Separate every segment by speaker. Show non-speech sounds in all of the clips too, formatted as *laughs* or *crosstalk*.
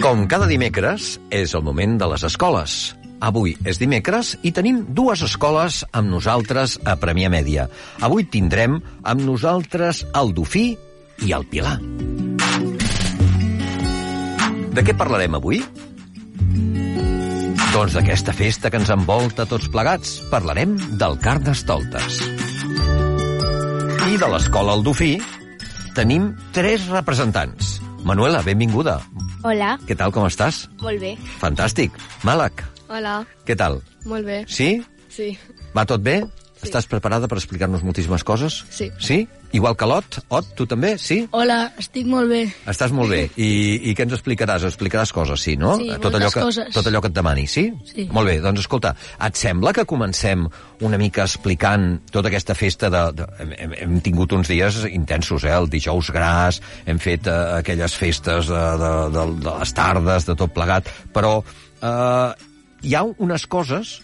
Speaker 1: Com cada dimecres, és el moment de les escoles. Avui és dimecres i tenim dues escoles amb nosaltres a Premià Mèdia. Avui tindrem amb nosaltres el Dofí i el Pilar. De què parlarem avui? Doncs d'aquesta festa que ens envolta tots plegats, parlarem del Carnestoltes. I de l'escola El Dofí tenim tres representants. Manuela, benvinguda.
Speaker 2: Hola.
Speaker 1: Què tal, com estàs?
Speaker 2: Molt bé.
Speaker 1: Fantàstic. Malak,
Speaker 2: Hola.
Speaker 1: què tal?
Speaker 2: Molt bé.
Speaker 1: Sí?
Speaker 2: Sí.
Speaker 1: Va tot bé?
Speaker 2: Sí.
Speaker 1: Estàs preparada per explicar-nos moltíssimes coses?
Speaker 2: Sí.
Speaker 1: Sí? Igual que l'Ot? Ot, tu també? Sí?
Speaker 2: Hola, estic molt bé.
Speaker 1: Estàs molt bé. I, i què ens explicaràs? Explicaràs coses, sí, no?
Speaker 2: Sí,
Speaker 1: tot
Speaker 2: moltes
Speaker 1: allò que,
Speaker 2: coses.
Speaker 1: Tot allò que et demani, sí?
Speaker 2: Sí.
Speaker 1: Molt bé, doncs escolta, et sembla que comencem una mica explicant tota aquesta festa de... de hem- hem, hem tingut uns dies intensos, eh? El dijous gras, hem fet eh, aquelles festes de, de, de, de les tardes, de tot plegat, però eh, hi ha unes coses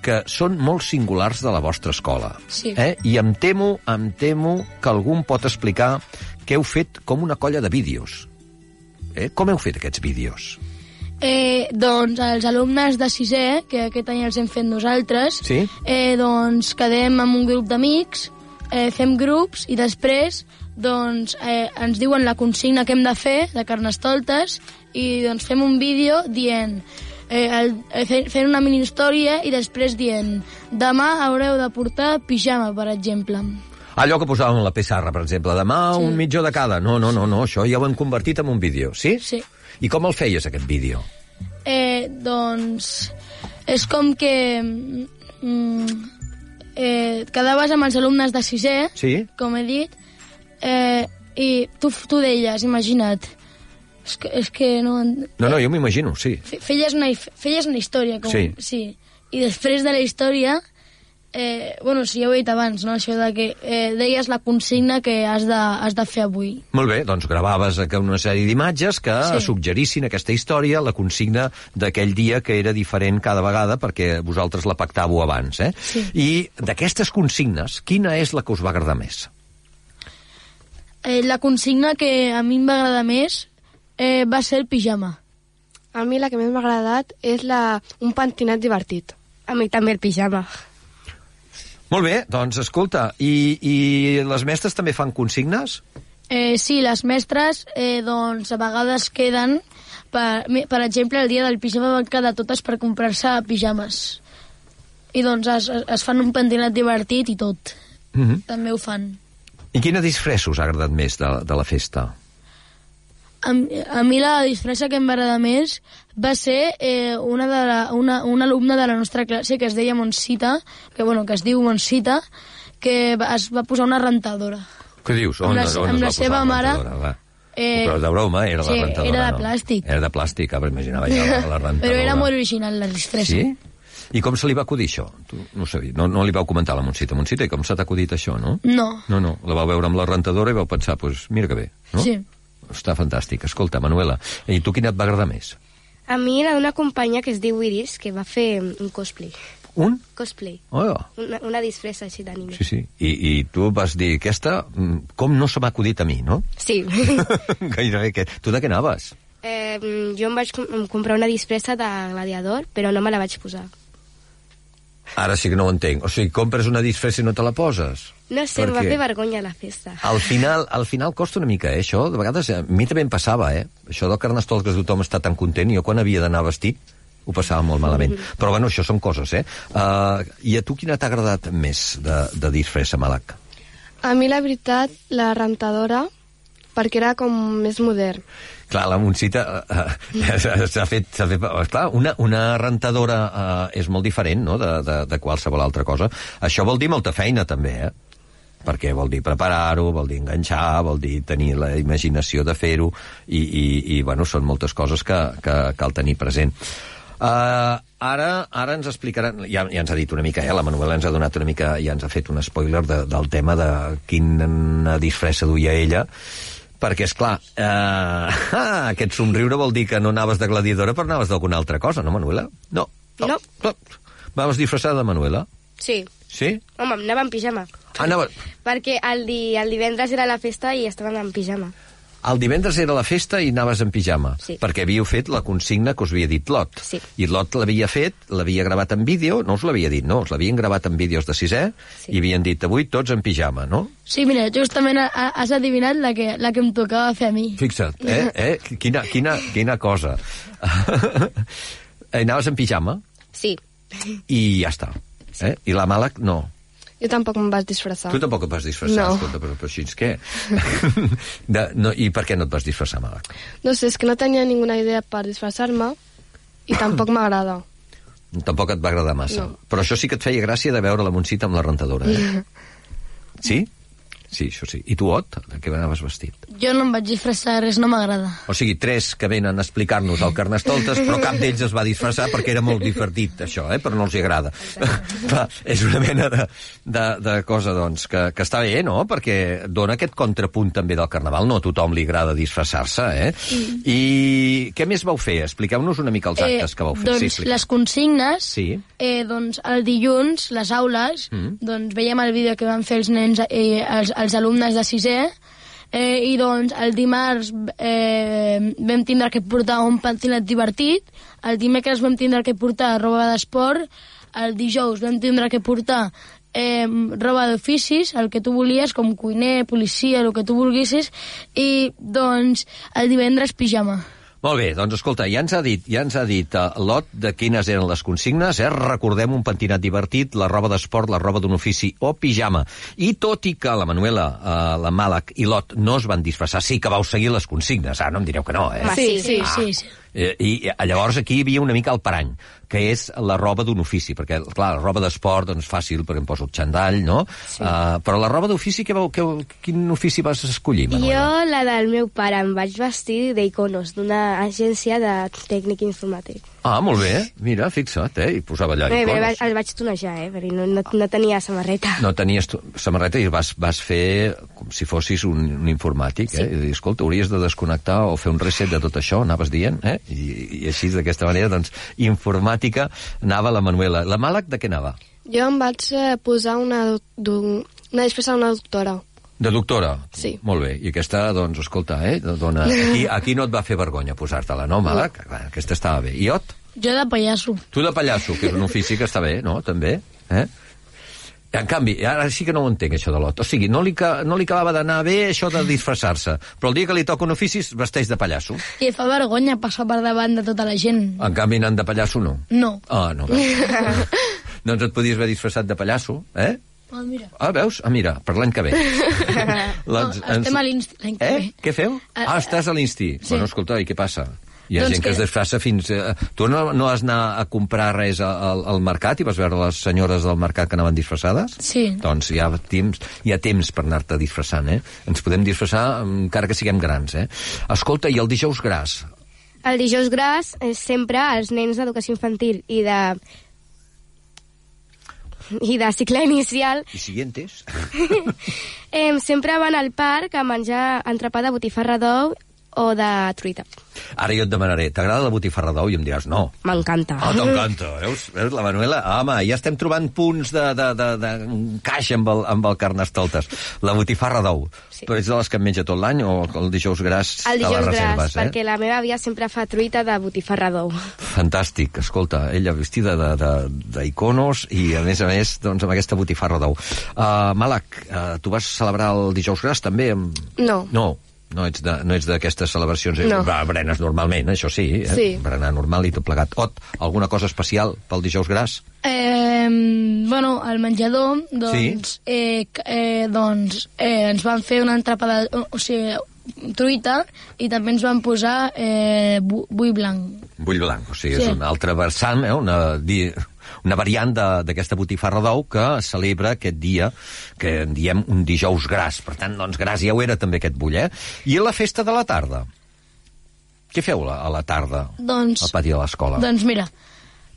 Speaker 1: que són molt singulars de la vostra escola.
Speaker 2: Sí.
Speaker 1: Eh? I em temo, em temo que algú em pot explicar que heu fet com una colla de vídeos. Eh? Com heu fet aquests vídeos?
Speaker 3: Eh, doncs els alumnes de sisè, que aquest any els hem fet nosaltres,
Speaker 1: Sí.
Speaker 3: eh, doncs quedem amb un grup d'amics, eh, fem grups i després doncs, eh, ens diuen la consigna que hem de fer de carnestoltes i doncs fem un vídeo dient eh, el, eh, fe- fent una mini història i després dient demà haureu de portar pijama, per exemple.
Speaker 1: Allò que posàvem a la pissarra, per exemple, demà sí. un mitjó de cada. No, no, no, no, això ja ho hem convertit en un vídeo, sí?
Speaker 3: Sí.
Speaker 1: I com el feies, aquest vídeo?
Speaker 3: Eh, doncs és com que mm, eh, quedaves amb els alumnes de sisè,
Speaker 1: Sí?
Speaker 3: com he dit, eh, i tu, tu deies, imagina't, és que, és que no... en-
Speaker 1: No, no, jo m'imagino, sí.
Speaker 3: fe- Feies una, hi- feies una història, com,
Speaker 1: Sí.
Speaker 3: sí. I després de la història, eh, bueno, sí, ja ho he dit abans, no?, això de que eh, deies la consigna que has de, has de fer avui.
Speaker 1: Molt bé, doncs gravaves eh, que una sèrie d'imatges que sí.
Speaker 3: Sí.
Speaker 1: suggerissin aquesta història, la consigna d'aquell dia que era diferent cada vegada perquè vosaltres la pactàveu abans, eh?
Speaker 3: Sí.
Speaker 1: I d'aquestes consignes, quina és la que us va agradar més?
Speaker 3: Eh, la consigna que a mi em va agradar més eh, va ser el pijama.
Speaker 2: A mi la que més m'ha agradat és la... un pentinat divertit. A mi també el pijama.
Speaker 1: Molt bé, doncs escolta, i, i les mestres també fan consignes?
Speaker 3: Eh, sí, les mestres, eh, doncs, a vegades queden... Per, mi- per exemple, el dia del pijama van quedar totes per comprar-se pijames. I doncs es, es- es fan un pentinat divertit i tot.
Speaker 1: Mm -hmm.
Speaker 3: També ho fan.
Speaker 1: I quina disfressa us ha agradat més de, de la festa?
Speaker 3: A, mi- a mi la disfressa que em va agradar més va ser eh, una, de la, una, una alumna de la nostra classe que es deia Montsita, que, bueno, que es diu Montsita, que va, es va posar una rentadora.
Speaker 1: Què dius?
Speaker 3: Amb la- amb
Speaker 1: es
Speaker 3: la
Speaker 1: va posar
Speaker 3: seva mare,
Speaker 1: rentadora, va?
Speaker 3: eh,
Speaker 1: Però de broma, era
Speaker 3: sí,
Speaker 1: la rentadora,
Speaker 3: era de
Speaker 1: no?
Speaker 3: plàstic.
Speaker 1: Era de plàstic, ah, però imaginava
Speaker 3: *laughs*
Speaker 1: ja la, la rentadora.
Speaker 3: Però era molt original la disfressa.
Speaker 1: Sí? I com se li va acudir això? Tu, no ho sabia. No, no li vau comentar a la Montsita. Montsita, i com s'ha acudit això, no?
Speaker 3: No.
Speaker 1: No, no. La vau veure amb la rentadora i vau pensar, doncs, pues, mira que bé, no?
Speaker 3: Sí.
Speaker 1: Està fantàstic. Escolta, Manuela, i tu quina et va agradar més?
Speaker 4: A mi la d'una companya que es diu Iris, que va fer mm, un cosplay.
Speaker 1: Un?
Speaker 4: Cosplay.
Speaker 1: Oh,
Speaker 4: Una, una disfressa així d'anime.
Speaker 1: sí, sí. I, I tu vas dir, aquesta, mm, com no se m'ha acudit a mi, no?
Speaker 4: Sí.
Speaker 1: *laughs*
Speaker 4: *laughs*
Speaker 1: Gairebé que... Tu de què anaves?
Speaker 4: eh, mm, jo em vaig com em comprar una disfressa de gladiador, però no me la vaig posar.
Speaker 1: Ara sí que no ho entenc. O sigui, compres una disfressa i no te la poses?
Speaker 4: No sé,
Speaker 1: Per
Speaker 4: em va
Speaker 1: què? Ah.
Speaker 4: fer vergonya la festa.
Speaker 1: Al final, al final costa una mica, eh, això. De vegades, eh, a mi també em passava, eh? Això del carnestoltes tothom està tan content. Jo quan havia d'anar vestit ho passava molt malament. Però, bueno, això són coses, eh? Uh, I a tu quina t'ha agradat més de, de disfressa, Malac?
Speaker 2: A mi, la veritat, la rentadora, perquè era com més modern.
Speaker 1: Clar, la Montsita eh, eh, s'ha fet, s'ha fet... eh, Clar, una, una rentadora eh, és molt diferent no? de, de, de qualsevol altra cosa. Això vol dir molta feina, també, eh? Perquè vol dir preparar-ho, vol dir enganxar, vol dir tenir la imaginació de fer-ho, i, i, i, bueno, són moltes coses que, que cal tenir present. Uh, ara, ara ens explicaran... Ja, ja ens ha dit una mica, eh? La Manuela ens ha donat una mica... Ja ens ha fet un spoiler de, del tema de quina disfressa duia ella, perquè, és clar, eh, *laughs* ah, aquest somriure vol dir que no anaves de gladiadora però anaves d'alguna altra cosa, no, Manuela? No.
Speaker 4: No.
Speaker 1: no. Vaves disfressada de Manuela?
Speaker 4: Sí.
Speaker 1: Sí?
Speaker 4: Home, anava en pijama.
Speaker 1: Anava...
Speaker 4: Perquè el, di, el divendres era la festa i estàvem en pijama.
Speaker 1: El divendres era la festa i anaves en pijama,
Speaker 4: Sí.
Speaker 1: perquè havíeu fet la consigna que us havia dit Lot.
Speaker 4: Sí.
Speaker 1: I Lot l'havia fet, l'havia gravat en vídeo, no us l'havia dit, no, us l'havien gravat en vídeos de sisè,
Speaker 4: Sí.
Speaker 1: i havien dit avui tots en pijama, no?
Speaker 3: Sí, mira, justament ha- ha- has adivinat la que, la que em tocava fer a mi.
Speaker 1: Fixa't, eh? eh? Quina, quina, quina cosa. *laughs* Eh, Anaves en pijama
Speaker 4: Sí,
Speaker 1: i ja està. Eh? I la mala, no.
Speaker 2: Jo tampoc em vas disfressar.
Speaker 1: Tu tampoc et vas disfressar,
Speaker 2: No.
Speaker 1: escolta, però, però així és què? *laughs* De, no, I per què no et vas disfressar, mala?
Speaker 2: No sé, és que no tenia ninguna idea per disfressar-me i tampoc m'agrada.
Speaker 1: Tampoc et va agradar massa.
Speaker 2: No.
Speaker 1: No. Però això sí que et feia gràcia de veure la Montsita amb la rentadora,
Speaker 2: *laughs*
Speaker 1: eh? sí? Sí, això sí. I tu, Ot, de què anaves vestit?
Speaker 3: Jo no em vaig disfressar res, no m'agrada.
Speaker 1: O sigui, tres que venen a explicar-nos el Carnestoltes, però cap d'ells es va disfressar perquè era molt divertit, això, eh? però no els hi agrada. Clar, és una mena de, de, de cosa, doncs, que, que està bé, no?, perquè dona aquest contrapunt també del Carnaval. No a tothom li agrada disfressar-se, eh? I què més vau fer? Expliqueu-nos una mica els actes que vau fer.
Speaker 3: Eh, Doncs
Speaker 1: expliqueu.
Speaker 3: les consignes,
Speaker 1: Sí.
Speaker 3: eh, doncs el dilluns, les aules,
Speaker 1: Mm.
Speaker 3: doncs veiem el vídeo que van fer els nens, eh, els, els alumnes de sisè, eh, i doncs el dimarts eh, vam tindre que portar un pentinat divertit, el dimecres vam tindre que portar roba d'esport, el dijous vam tindre que portar eh, roba d'oficis, el que tu volies, com cuiner, policia, el que tu volguessis, i doncs el divendres pijama.
Speaker 1: Molt bé, doncs escolta, ja ens ha dit, ja ens ha dit uh, Lot de quines eren les consignes, eh? recordem un pentinat divertit, la roba d'esport, la roba d'un ofici o pijama. I tot i que la Manuela, uh, la Màlac i Lot no es van disfressar, sí que vau seguir les consignes, ah, no em direu que no, eh?
Speaker 4: Va,
Speaker 2: sí, sí.
Speaker 3: Sí, sí.
Speaker 1: Eh, I eh, llavors aquí hi havia una mica el parany, que és la roba d'un ofici, perquè, clar, la roba d'esport, doncs, fàcil, perquè em poso el xandall, no? Sí. Uh, però la roba d'ofici, què vau- què- quin ofici vas escollir,
Speaker 4: jo
Speaker 1: Manuela?
Speaker 4: la del meu pare em vaig vestir d'iconos d'una agència de tècnic informàtic.
Speaker 1: Ah, molt bé, mira, fixa't, eh? I posava allà
Speaker 4: Bé, bé,
Speaker 1: icones.
Speaker 4: va- el vaig tonejar, eh? Perquè no, no, no tenia samarreta.
Speaker 1: No tenies tu, samarreta i vas, vas fer com si fossis un, un informàtic, eh? I dir, escolta, hauries de desconnectar o fer un reset de tot això, anaves dient, eh? I, i així, d'aquesta manera, doncs, informàtica anava la Manuela. La Màlac de què anava?
Speaker 2: Jo em vaig eh, posar una, doc- du- una disfressa d'una doctora.
Speaker 1: De doctora?
Speaker 2: Sí.
Speaker 1: Molt bé. I aquesta, doncs, escolta, eh? Dona, aquí, aquí no et va fer vergonya posar-te-la, no, Màlac? Clar, Aquesta estava bé. I Ot?
Speaker 3: Jo de pallasso.
Speaker 1: Tu de pallasso, que és un ofici que està bé, no?, també, eh? En canvi, ara sí que no ho entenc, això de l'Ot. O sigui, no li, ca- no li acabava d'anar bé això de disfressar-se, però el dia que li toca un ofici es vesteix de pallasso.
Speaker 3: I fa vergonya passar per davant de tota la gent.
Speaker 1: En canvi, anant de pallasso, no.
Speaker 3: No.
Speaker 1: Ah, no. doncs et podies haver disfressat de pallasso, eh?
Speaker 3: Ah, mira.
Speaker 1: Ah, veus? Ah, mira, per l'any que
Speaker 3: *laughs*
Speaker 1: ve. Doncs
Speaker 3: No, estem a l'insti- l'any que
Speaker 1: eh?
Speaker 3: ve.
Speaker 1: Què feu?
Speaker 3: A-
Speaker 1: Ah, estàs a l'insti.
Speaker 3: Sí.
Speaker 1: Sí. Bueno, escolta, i què passa? Hi ha doncs
Speaker 3: Doncs
Speaker 1: gent que...
Speaker 3: que-
Speaker 1: es desfassa fins... Eh, tu no, no has anar a comprar res a- al, al mercat i vas veure les senyores del mercat que anaven disfressades?
Speaker 3: Sí.
Speaker 1: Doncs hi ha temps, hi ha temps per anar-te disfressant, eh? Ens podem disfressar mm, encara que siguem grans, eh? Escolta, i el dijous gras?
Speaker 4: El dijous gras és sempre els nens d'educació infantil i de i de cicle inicial,
Speaker 1: I siguientes?
Speaker 4: eh, sempre van al parc a menjar entrepà de botifarra d'ou o de truita.
Speaker 1: Ara jo et demanaré, t'agrada la botifarra d'ou? I em diràs, no,
Speaker 4: M'encanta.
Speaker 1: Ah, t'encanta, veus? Veus la Manuela? Ah, home, ja estem trobant punts de, de, de, de caixa amb el, amb el carnestoltes. La botifarra d'ou. Sí. Però ets de les que en menja tot l'any o el dijous gras
Speaker 4: El
Speaker 1: te la
Speaker 4: dijous
Speaker 1: reserves,
Speaker 4: gras,
Speaker 1: eh?
Speaker 4: perquè la meva àvia sempre fa truita de botifarra d'ou.
Speaker 1: Fantàstic, escolta, ella vestida de- de- d'iconos i, a més a més, doncs, amb aquesta botifarra d'ou. Uh, Malak, uh, tu vas celebrar el dijous gras també? Amb...
Speaker 2: No.
Speaker 1: No, no ets de- no ets d'aquestes no celebracions. eh?
Speaker 2: No.
Speaker 1: Va, Berenes normalment, això sí, eh?
Speaker 2: Sí.
Speaker 1: Berenar normal i tot plegat. Ot, alguna cosa especial pel dijous gras?
Speaker 3: Eh, bueno, al menjador, doncs, sí. eh, c- eh, doncs eh, ens van fer una entrapada, o, o sigui, truita, i també ens van posar eh, bu bui blanc.
Speaker 1: Bull blanc, o sigui,
Speaker 3: Sí.
Speaker 1: sí. és un altre versant, eh? una, di- una variant de- d'aquesta botifarra d'ou que celebra aquest dia, que en diem un dijous gras. Per tant, doncs, gras ja ho era també aquest bull, eh? I la festa de la tarda? Què feu la- a la tarda
Speaker 3: Doncs,
Speaker 1: al pati de l'escola?
Speaker 3: Doncs mira,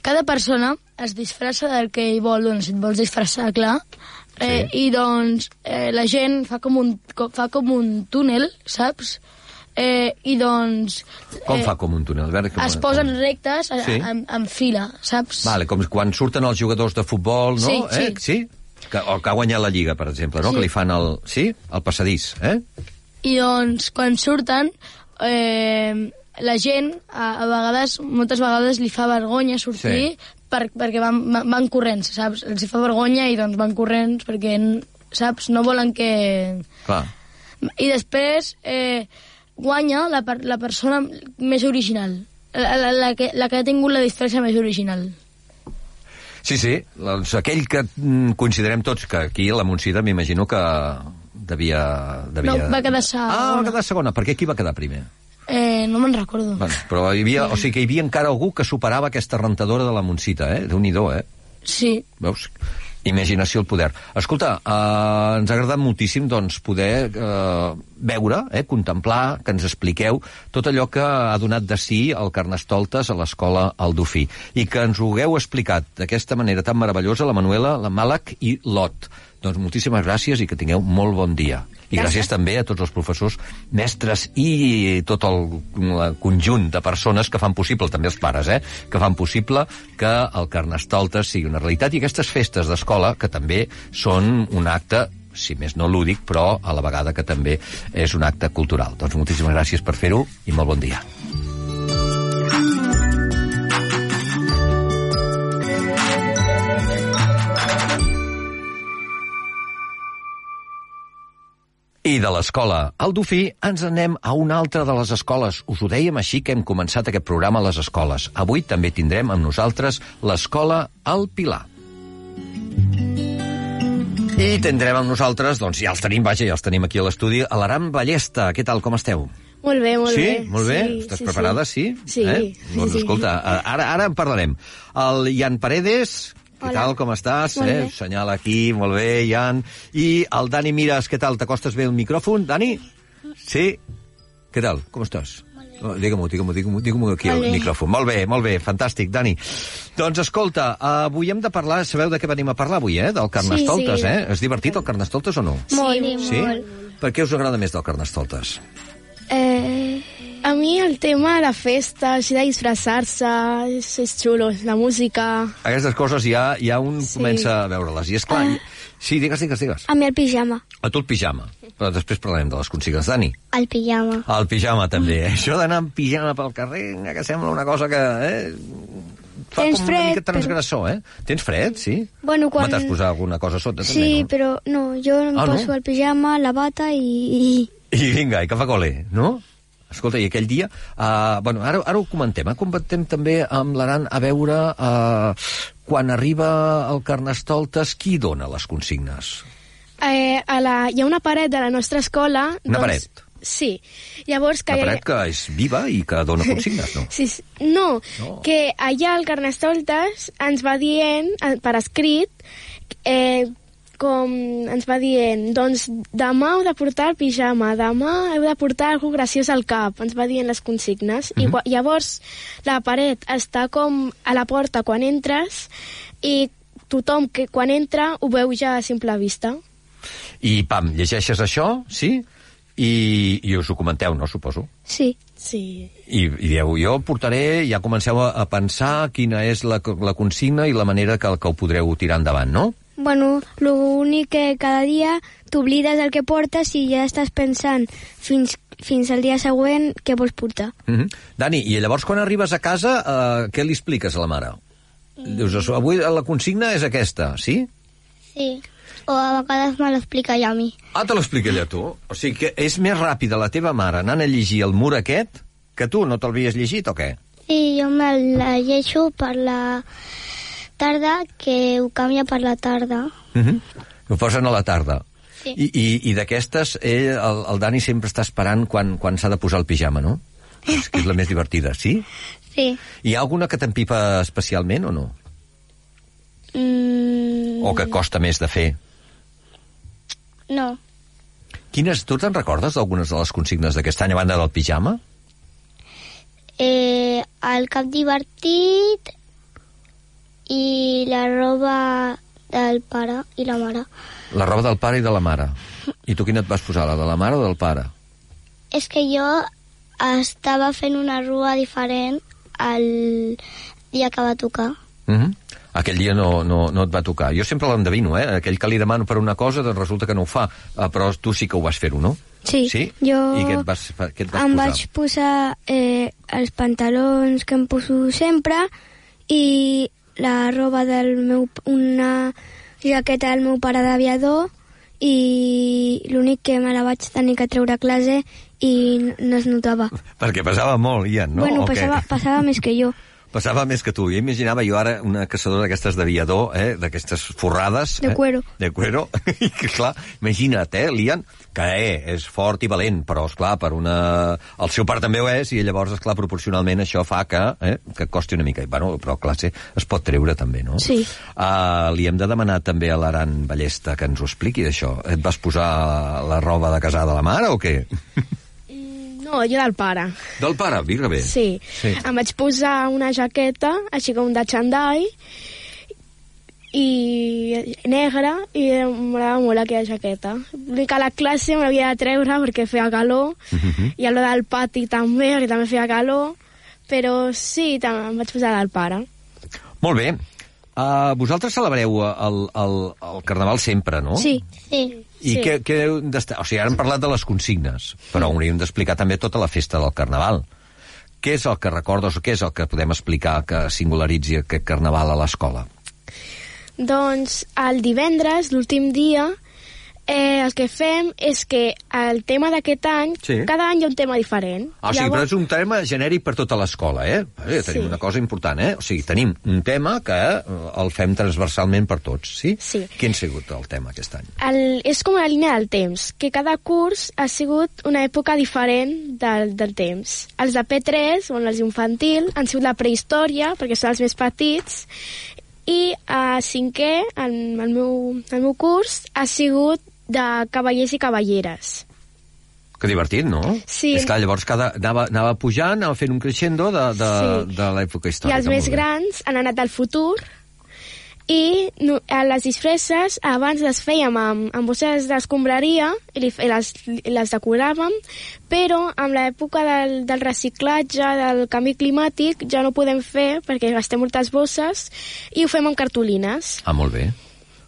Speaker 3: cada persona es disfressa del que hi vol, doncs si et vols disfressar, clar, eh,
Speaker 1: Sí.
Speaker 3: i doncs eh, la gent fa com un, co- fa com un túnel, saps? Eh, I doncs...
Speaker 1: Com
Speaker 3: eh,
Speaker 1: fa com un túnel? A veure, com,
Speaker 3: Es posen
Speaker 1: com...
Speaker 3: rectes a,
Speaker 1: Sí.
Speaker 3: sí. en, en fila, saps?
Speaker 1: Vale, com quan surten els jugadors de futbol, no?
Speaker 3: Sí,
Speaker 1: eh?
Speaker 3: sí.
Speaker 1: sí? Que, o que ha guanyat la Lliga, per exemple, no?
Speaker 3: Sí.
Speaker 1: Que li fan el... Sí? El passadís, eh?
Speaker 3: I doncs, quan surten, eh, la gent, a, a vegades, moltes vegades li fa vergonya sortir
Speaker 1: Sí.
Speaker 3: per, perquè van, van, van corrents, saps? Els hi fa vergonya i doncs van corrents perquè, n- saps, no volen que...
Speaker 1: Clar.
Speaker 3: I després eh, guanya la, per, la persona més original, la, la, la, que, la que ha tingut la distància més original.
Speaker 1: Sí, sí, doncs aquell que mm, considerem tots que aquí la Montsida m'imagino que devia, devia...
Speaker 3: No, va quedar segona.
Speaker 1: Ah, va quedar segona, perquè qui va quedar primer?
Speaker 3: Eh, no me'n recordo.
Speaker 1: Bueno, però hi havia, o sigui que hi havia encara algú que superava aquesta rentadora de la Montsita, eh? déu nhi eh?
Speaker 3: Sí.
Speaker 1: Veus? Imaginació al poder. Escolta, eh, ens ha agradat moltíssim doncs, poder eh, veure, eh, contemplar, que ens expliqueu tot allò que ha donat de si el Carnestoltes a l'escola Aldofí i que ens ho hagueu explicat d'aquesta manera tan meravellosa la Manuela, la Màlac i l'Ot. Doncs moltíssimes gràcies i que tingueu molt bon dia. I gràcies també a tots els professors, mestres i tot el, el conjunt de persones que fan possible, també els pares, eh, que fan possible que el Carnestoltes sigui una realitat i aquestes festes d'escola, que també són un acte si més no lúdic, però a la vegada que també és un acte cultural. Doncs moltíssimes gràcies per fer-ho i molt bon dia. I de l'escola al Dofí ens anem a una altra de les escoles. Us ho dèiem així que hem començat aquest programa a les escoles. Avui també tindrem amb nosaltres l'escola al Pilar. I tindrem amb nosaltres, doncs ja els tenim, vaja, ja els tenim aquí a l'estudi, a l'Aram Ballesta. Què tal, com esteu?
Speaker 2: Molt bé, molt
Speaker 1: sí?
Speaker 2: bé.
Speaker 1: Molt bé? Estàs preparada, sí?
Speaker 2: Sí.
Speaker 1: Eh? Doncs
Speaker 2: Sí.
Speaker 1: escolta, a- ara, ara en parlarem. El Ian Paredes, què tal, com estàs?
Speaker 2: Molt
Speaker 1: eh?
Speaker 2: bé.
Speaker 1: Senyala aquí, molt bé, Ian. I el Dani Mires, què tal? T'acostes bé al micròfon, Dani? Sí? Què tal? Com estàs? Oh, Digue-m'ho, digue-m'ho, digue-m'ho digue aquí al micròfon. Molt bé, molt bé, fantàstic, Dani. Doncs escolta, avui hem de parlar, sabeu de què venim a parlar avui, eh? Del Carnestoltes,
Speaker 2: sí.
Speaker 1: eh? És divertit el Carnestoltes o no?
Speaker 2: Molt,
Speaker 1: Sí? Per què us agrada més del Carnestoltes?
Speaker 2: Eh, a mi el tema de la festa, així de disfressar-se, és, és xulo, la música...
Speaker 1: Aquestes coses ja, ja un sí. comença a veure-les. I és clar...
Speaker 5: Ah.
Speaker 1: Uh, sí, digues, digues, digues.
Speaker 5: A mi el pijama.
Speaker 1: A tu el pijama. Però després parlarem de les consignes. Dani,
Speaker 5: El pijama.
Speaker 1: el pijama també. Eh? Això d'anar amb pijama pel carrer, eh, que sembla una cosa que... Eh, fa
Speaker 5: Tens
Speaker 1: com una
Speaker 5: fred,
Speaker 1: mica transgressor, eh? Tens fred, sí?
Speaker 5: Bueno, quan-
Speaker 1: M'has posat alguna cosa a sota,
Speaker 5: Sí,
Speaker 1: també, no?
Speaker 5: però no, jo em
Speaker 1: Ah, no?
Speaker 5: poso el pijama, la bata i... i...
Speaker 1: I vinga, i que fa col·le, no? Escolta, i aquell dia... Uh, bueno, ara, ara ho comentem, eh? Comentem també amb l'Aran a veure uh, quan arriba el Carnestoltes, qui dona les consignes?
Speaker 2: Eh, a la, hi ha una paret de la nostra escola...
Speaker 1: Una
Speaker 2: doncs,
Speaker 1: paret?
Speaker 2: Sí. Llavors que...
Speaker 1: Que
Speaker 2: hi ha-
Speaker 1: paret que és viva i que dona consignes, no?
Speaker 2: Sí, sí. no,
Speaker 1: No.
Speaker 2: no, que allà al Carnestoltes ens va dient, eh, per escrit, eh, com ens va dient, doncs demà heu de portar el pijama, demà heu de portar algú graciós al cap, ens va dient les consignes. Mm -hmm. I gua- llavors la paret està com a la porta quan entres i tothom que quan entra ho veu ja a simple vista.
Speaker 1: I, pam, llegeixes això, sí? I, i us ho comenteu, no, suposo?
Speaker 5: Sí.
Speaker 2: Sí.
Speaker 1: I, i dieu, jo portaré, ja comenceu a, a pensar quina és la, co- la consigna i la manera que, que ho podreu tirar endavant, no?
Speaker 5: Bueno, l'únic que cada dia t'oblides el que portes i ja estàs pensant fins, fins al dia següent què vols portar.
Speaker 1: Mm -hmm. Dani, i llavors quan arribes a casa, eh, què li expliques a la mare? Dius, "Això, avui la consigna és aquesta, sí?
Speaker 5: Sí, o a vegades me l'explica ja a mi.
Speaker 1: Ah, te l'explica ella tu. O sigui que és més ràpida la teva mare anant a llegir el mur aquest que tu, no t'havies llegit o què?
Speaker 5: Sí, jo me la llegeixo per la tarda, que ho canvia per la tarda.
Speaker 1: Uh -huh. Ho posen a la tarda.
Speaker 5: Sí.
Speaker 1: I, i, i d'aquestes, ell, el, el Dani sempre està esperant quan, quan s'ha de posar el pijama, no? És, que és la més divertida, sí?
Speaker 5: Sí.
Speaker 1: Hi ha alguna que t'empipa especialment o no?
Speaker 5: Mm,
Speaker 1: O que costa més de fer?
Speaker 5: no.
Speaker 1: Quines, tu te'n recordes d'algunes de les consignes d'aquest any a banda del pijama?
Speaker 5: Eh, el cap divertit i la roba del pare i la mare.
Speaker 1: La roba del pare i de la mare. I tu quina et vas posar, la de la mare o del pare?
Speaker 5: És que jo estava fent una rua diferent el dia que va tocar.
Speaker 1: Mm -hmm. Aquell dia no, no, no et va tocar. Jo sempre l'endevino, eh? Aquell que li demano per una cosa, doncs resulta que no ho fa. Eh, Però tu sí que ho vas fer-ho, no?
Speaker 5: Sí,
Speaker 1: Sí?
Speaker 5: jo
Speaker 1: I què et vas, fa- què et vas
Speaker 5: em
Speaker 1: posar?
Speaker 5: vaig posar eh, els pantalons que em poso sempre i la roba del meu... p- una jaqueta del meu pare d'aviador i l'únic que me la vaig tenir que treure a classe i n- no es notava.
Speaker 1: Perquè pesava molt, Ian, no?
Speaker 5: bueno,
Speaker 1: O què?
Speaker 5: passava, passava més que jo.
Speaker 1: Passava més que tu. Jo imaginava jo ara una caçadora d'aquestes d'aviador, eh? d'aquestes forrades...
Speaker 5: De
Speaker 1: eh?
Speaker 5: cuero.
Speaker 1: De cuero. *laughs* I que, clar, imagina't, eh, Lian, que eh, és fort i valent, però, és clar per una... El seu part també ho és, i llavors, esclar, proporcionalment això fa que, eh, que costi una mica. I, bueno, però, clar, sí, es pot treure també, no?
Speaker 5: Sí.
Speaker 1: Uh, li hem de demanar també a l'Aran Ballesta que ens ho expliqui, això. Et vas posar la roba de casar de la mare o què?
Speaker 2: No, jo del pare.
Speaker 1: Del pare, vinga bé.
Speaker 2: Sí.
Speaker 1: Sí.
Speaker 2: Em vaig posar una jaqueta, així com de xandall, i negra, i m'agradava molt aquella jaqueta. L'únic que a la classe me l'havia de treure perquè feia calor, i a lo del pati també, perquè també feia calor, però sí, també em vaig posar del pare.
Speaker 1: Molt bé. Uh, vosaltres celebreu el, el, el carnaval sempre, no?
Speaker 5: Sí.
Speaker 6: Sí.
Speaker 1: I
Speaker 2: sí. Mm.
Speaker 1: què, què heu d'estar... O sigui, ara hem parlat de les consignes, però hauríem d'explicar també tota la festa del carnaval. Què és el que recordes o què és el que podem explicar que singularitzi aquest carnaval a l'escola?
Speaker 2: Doncs el divendres, l'últim dia, eh, el que fem és que el tema d'aquest any,
Speaker 1: Sí.
Speaker 2: cada any hi ha un tema diferent.
Speaker 1: Ah, o sigui, però és un tema genèric per tota l'escola, eh? eh? Tenim
Speaker 2: Sí.
Speaker 1: una cosa important, eh? O sigui, tenim un tema que eh, el fem transversalment per tots, sí?
Speaker 2: Sí.
Speaker 1: Quin ha sigut el tema aquest any?
Speaker 2: El, és com la línia del temps, que cada curs ha sigut una època diferent del, del temps. Els de P3, on els infantil, han sigut la prehistòria, perquè són els més petits, i a cinquè, el, el, meu, el meu curs, ha sigut de cavallers i cavalleres.
Speaker 1: Que divertit, no?
Speaker 2: Sí.
Speaker 1: És clar, llavors cada, anava, anava pujant, anava fent un crescendo de, de,
Speaker 2: Sí.
Speaker 1: de l'època
Speaker 2: I
Speaker 1: històrica.
Speaker 2: els més
Speaker 1: molt bé.
Speaker 2: grans han anat al futur i no, a les disfresses abans les fèiem amb, amb bosses d'escombraria i, li, i les, i les decoràvem, però amb l'època del, del reciclatge, del canvi climàtic, ja no ho podem fer perquè gastem moltes bosses i ho fem amb cartolines.
Speaker 1: Ah, molt bé.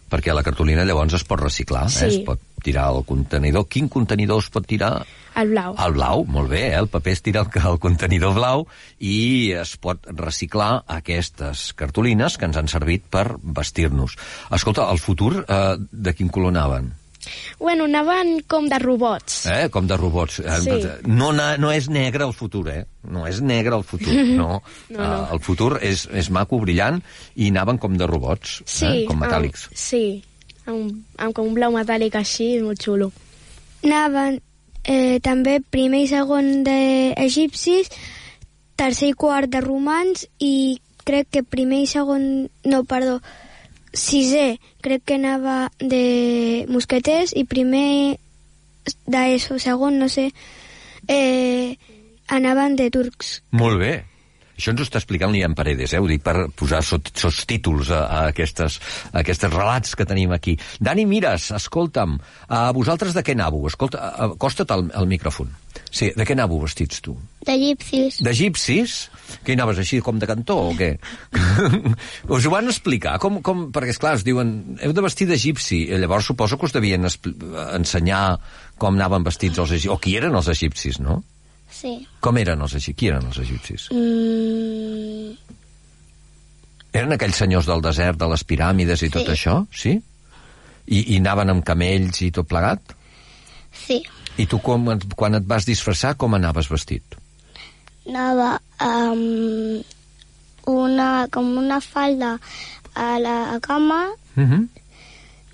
Speaker 1: Perquè la cartolina llavors es pot reciclar,
Speaker 2: Sí.
Speaker 1: eh? es pot tirar al contenidor. Quin contenidor es pot tirar?
Speaker 2: El blau.
Speaker 1: Al blau, molt bé, eh? el paper es tira al, al contenidor blau i es pot reciclar aquestes cartolines que ens han servit per vestir-nos. Escolta, el futur eh, de quin color anaven?
Speaker 2: Bueno, anaven com de robots.
Speaker 1: Eh? Com de robots. Eh,
Speaker 2: Sí.
Speaker 1: No, na- no és negre el futur, eh? No és negre el *laughs* futur, no. no, no. El futur és, és maco, brillant, i anaven com de robots, eh? com metàl·lics.
Speaker 2: Amb, sí, amb, amb com un blau metàl·lic així, molt xulo.
Speaker 5: Anaven eh, també primer i segon d'egipcis, tercer i quart de romans i crec que primer i segon... No, perdó, sisè crec que anava de mosqueters i primer d'ESO, segon, no sé, eh, anaven de turcs.
Speaker 1: Molt bé. Això ens ho està explicant l'Ian Paredes, eh? ho dic per posar sot, sotstítols a, a, aquestes, a aquestes relats que tenim aquí. Dani Mires, escolta'm, a vosaltres de què anàveu? Escolta, a- acosta't al, al micròfon. Sí, de què anàveu vestits tu?
Speaker 6: D'egipcis.
Speaker 1: D'egipcis? Que hi anaves així com de cantó o què? us ho van explicar? Com, com, perquè, esclar, us diuen, heu de vestir d'egipci. I Llavors suposo que us devien expl- ensenyar com anaven vestits els egipcis, o qui eren els egipcis, no?
Speaker 6: Sí.
Speaker 1: Com eren els egipcis? Qui eren els egipcis?
Speaker 6: Mm,
Speaker 1: Eren aquells senyors del desert, de les piràmides i tot
Speaker 6: Sí.
Speaker 1: això, sí? I, I anaven amb camells i tot plegat?
Speaker 6: sí.
Speaker 1: I tu com, et- quan et vas disfressar, com anaves vestit?
Speaker 6: Anava amb una, com una falda a la cama,
Speaker 1: Uh -huh.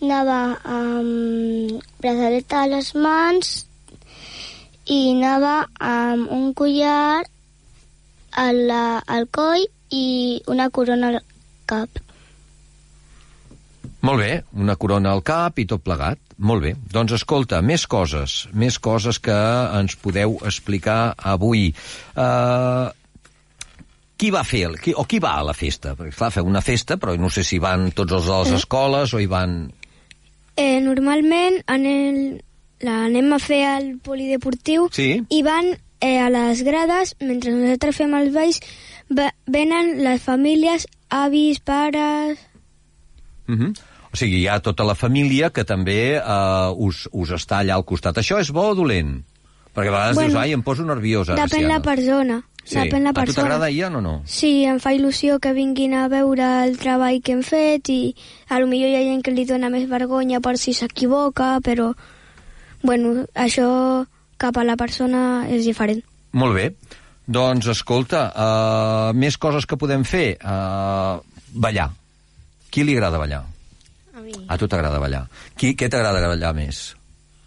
Speaker 6: anava amb braçaleta a les mans i anava amb un collar a la, al coll i una corona al cap.
Speaker 1: Molt bé, una corona al cap i tot plegat. Molt bé. Doncs escolta, més coses, més coses que ens podeu explicar avui. Uh, qui va fer, el, qui, o qui va a la festa? Perquè, clar, feu una festa, però no sé si van tots els de les
Speaker 5: Mm.
Speaker 1: escoles o hi van...
Speaker 5: Eh, normalment anem, l'anem a fer al polideportiu
Speaker 1: Sí.
Speaker 5: i van eh, a les grades, mentre nosaltres fem els balls, ve- venen les famílies, avis, pares... Mhm.
Speaker 1: Uh -huh. O sigui, hi ha tota la família que també eh, us, us està allà al costat. Això és bo o dolent? Perquè a vegades bueno, dius, ai, em poso nerviosa. ara,
Speaker 5: Depèn
Speaker 1: si
Speaker 5: la
Speaker 1: ara".
Speaker 5: persona.
Speaker 1: Sí.
Speaker 5: Depèn la
Speaker 1: A tu
Speaker 5: persona.
Speaker 1: t'agrada, Ian, o no?
Speaker 5: Sí, em fa il·lusió que vinguin a veure el treball que hem fet i a lo millor hi ha gent que li dona més vergonya per si s'equivoca, però bueno, això cap a la persona és diferent.
Speaker 1: Molt bé. Doncs, escolta, uh, més coses que podem fer. Uh, ballar. Qui li agrada ballar?
Speaker 2: A mi.
Speaker 1: A tu t'agrada ballar. Qui, què t'agrada ballar més?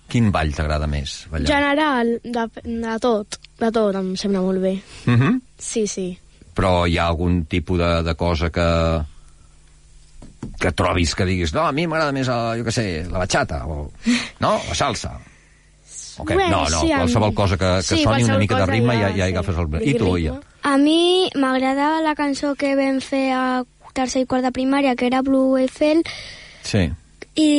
Speaker 1: Quin ball t'agrada més ballar?
Speaker 2: General, de, de tot. De tot, em sembla molt bé.
Speaker 1: Uh -huh.
Speaker 2: Sí, sí.
Speaker 1: Però hi ha algun tipus de, de cosa que que trobis que diguis no, a mi m'agrada més, el, jo què sé, la batxata o, no, la salsa o què? no,
Speaker 2: Bueno,
Speaker 1: no,
Speaker 2: sí, a mi.
Speaker 1: qualsevol cosa que, que
Speaker 2: Sí,
Speaker 1: soni una
Speaker 2: qualsevol
Speaker 1: mica de
Speaker 2: cosa
Speaker 1: ritme
Speaker 2: ja,
Speaker 1: ja, ja,
Speaker 2: sí.
Speaker 1: agafes el... I
Speaker 2: Ritme.
Speaker 1: tu, ja.
Speaker 5: A mi m'agrada la cançó que vam fer a tercer i quart de primària, que era Blue Eiffel,
Speaker 1: Sí.
Speaker 5: i,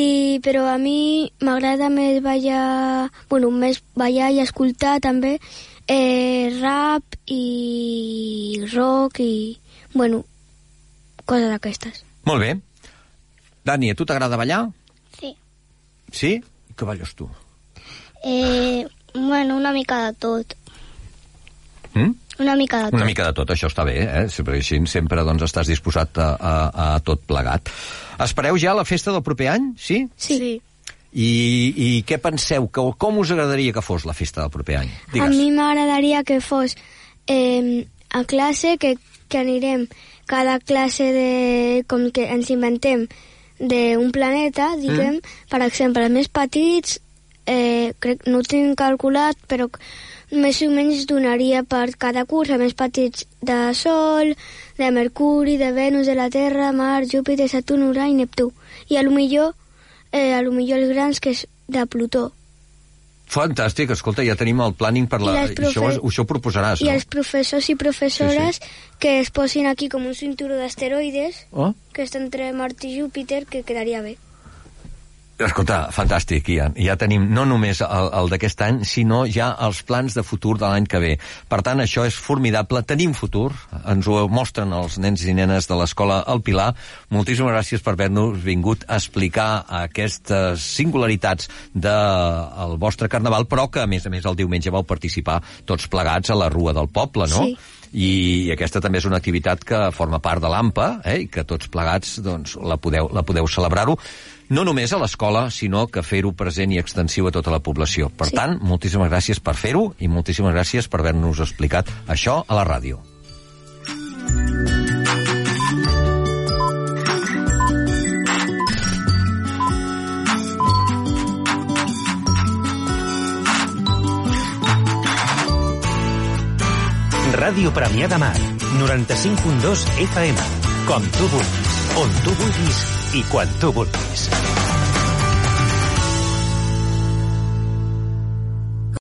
Speaker 5: però a mi m'agrada més ballar, bueno, més ballar i escoltar també eh, rap i rock i, bueno, coses d'aquestes.
Speaker 1: Molt bé. Dani, a tu t'agrada ballar?
Speaker 6: Sí.
Speaker 1: Sí? I què balles tu?
Speaker 6: Eh, bueno, una mica de tot.
Speaker 1: Mm?
Speaker 6: Una mica de tot.
Speaker 1: Una mica de tot, això està bé, eh? Sempre així, sempre doncs, estàs disposat a, a, a tot plegat. Espereu ja la festa del proper any, sí?
Speaker 2: Sí. sí.
Speaker 1: I, i què penseu? Que, com us agradaria que fos la festa del proper any?
Speaker 5: A mi m'agradaria que fos eh, a classe, que, que anirem cada classe de, com que ens inventem d'un planeta, diguem, mm. per exemple, els més petits, eh, crec, no ho tinc calculat, però més o menys donaria per cada curs, els més petits de Sol, de Mercuri, de Venus, de la Terra, Mar, Júpiter, Saturn, Urà i Neptú. I a lo millor, eh, a lo millor els grans, que és de Plutó.
Speaker 1: Fantàstic, escolta, ja tenim el planning per la...
Speaker 5: I les profe-
Speaker 1: això, ho- això ho proposaràs,
Speaker 5: I
Speaker 1: Ah, no?
Speaker 5: els professors i professores sí, sí. que es posin aquí com un cinturó d'asteroides,
Speaker 1: Oh?
Speaker 5: que està entre Mart i Júpiter, que quedaria bé.
Speaker 1: Escolta, fantàstic, Ian. Ja tenim no només el, el d'aquest any, sinó ja els plans de futur de l'any que ve. Per tant, això és formidable. Tenim futur. Ens ho mostren els nens i nenes de l'escola El Pilar. Moltíssimes gràcies per haver-nos vingut a explicar aquestes singularitats del de, el vostre carnaval, però que, a més a més, el diumenge vau participar tots plegats a la Rua del Poble, no?
Speaker 5: Sí.
Speaker 1: I aquesta també és una activitat que forma part de l'AMPA eh, i que tots plegats doncs, la podeu, la podeu celebrar-ho no només a l'escola, sinó que fer-ho present i extensiu a tota la població. Per sí. tant, moltíssimes gràcies per fer-ho i moltíssimes gràcies per haver-nos explicat això a la ràdio.
Speaker 7: Ràdio Premià de Mar, 95.2 FM. Com tu vulguis, on tu vulguis i quan tu vulguis.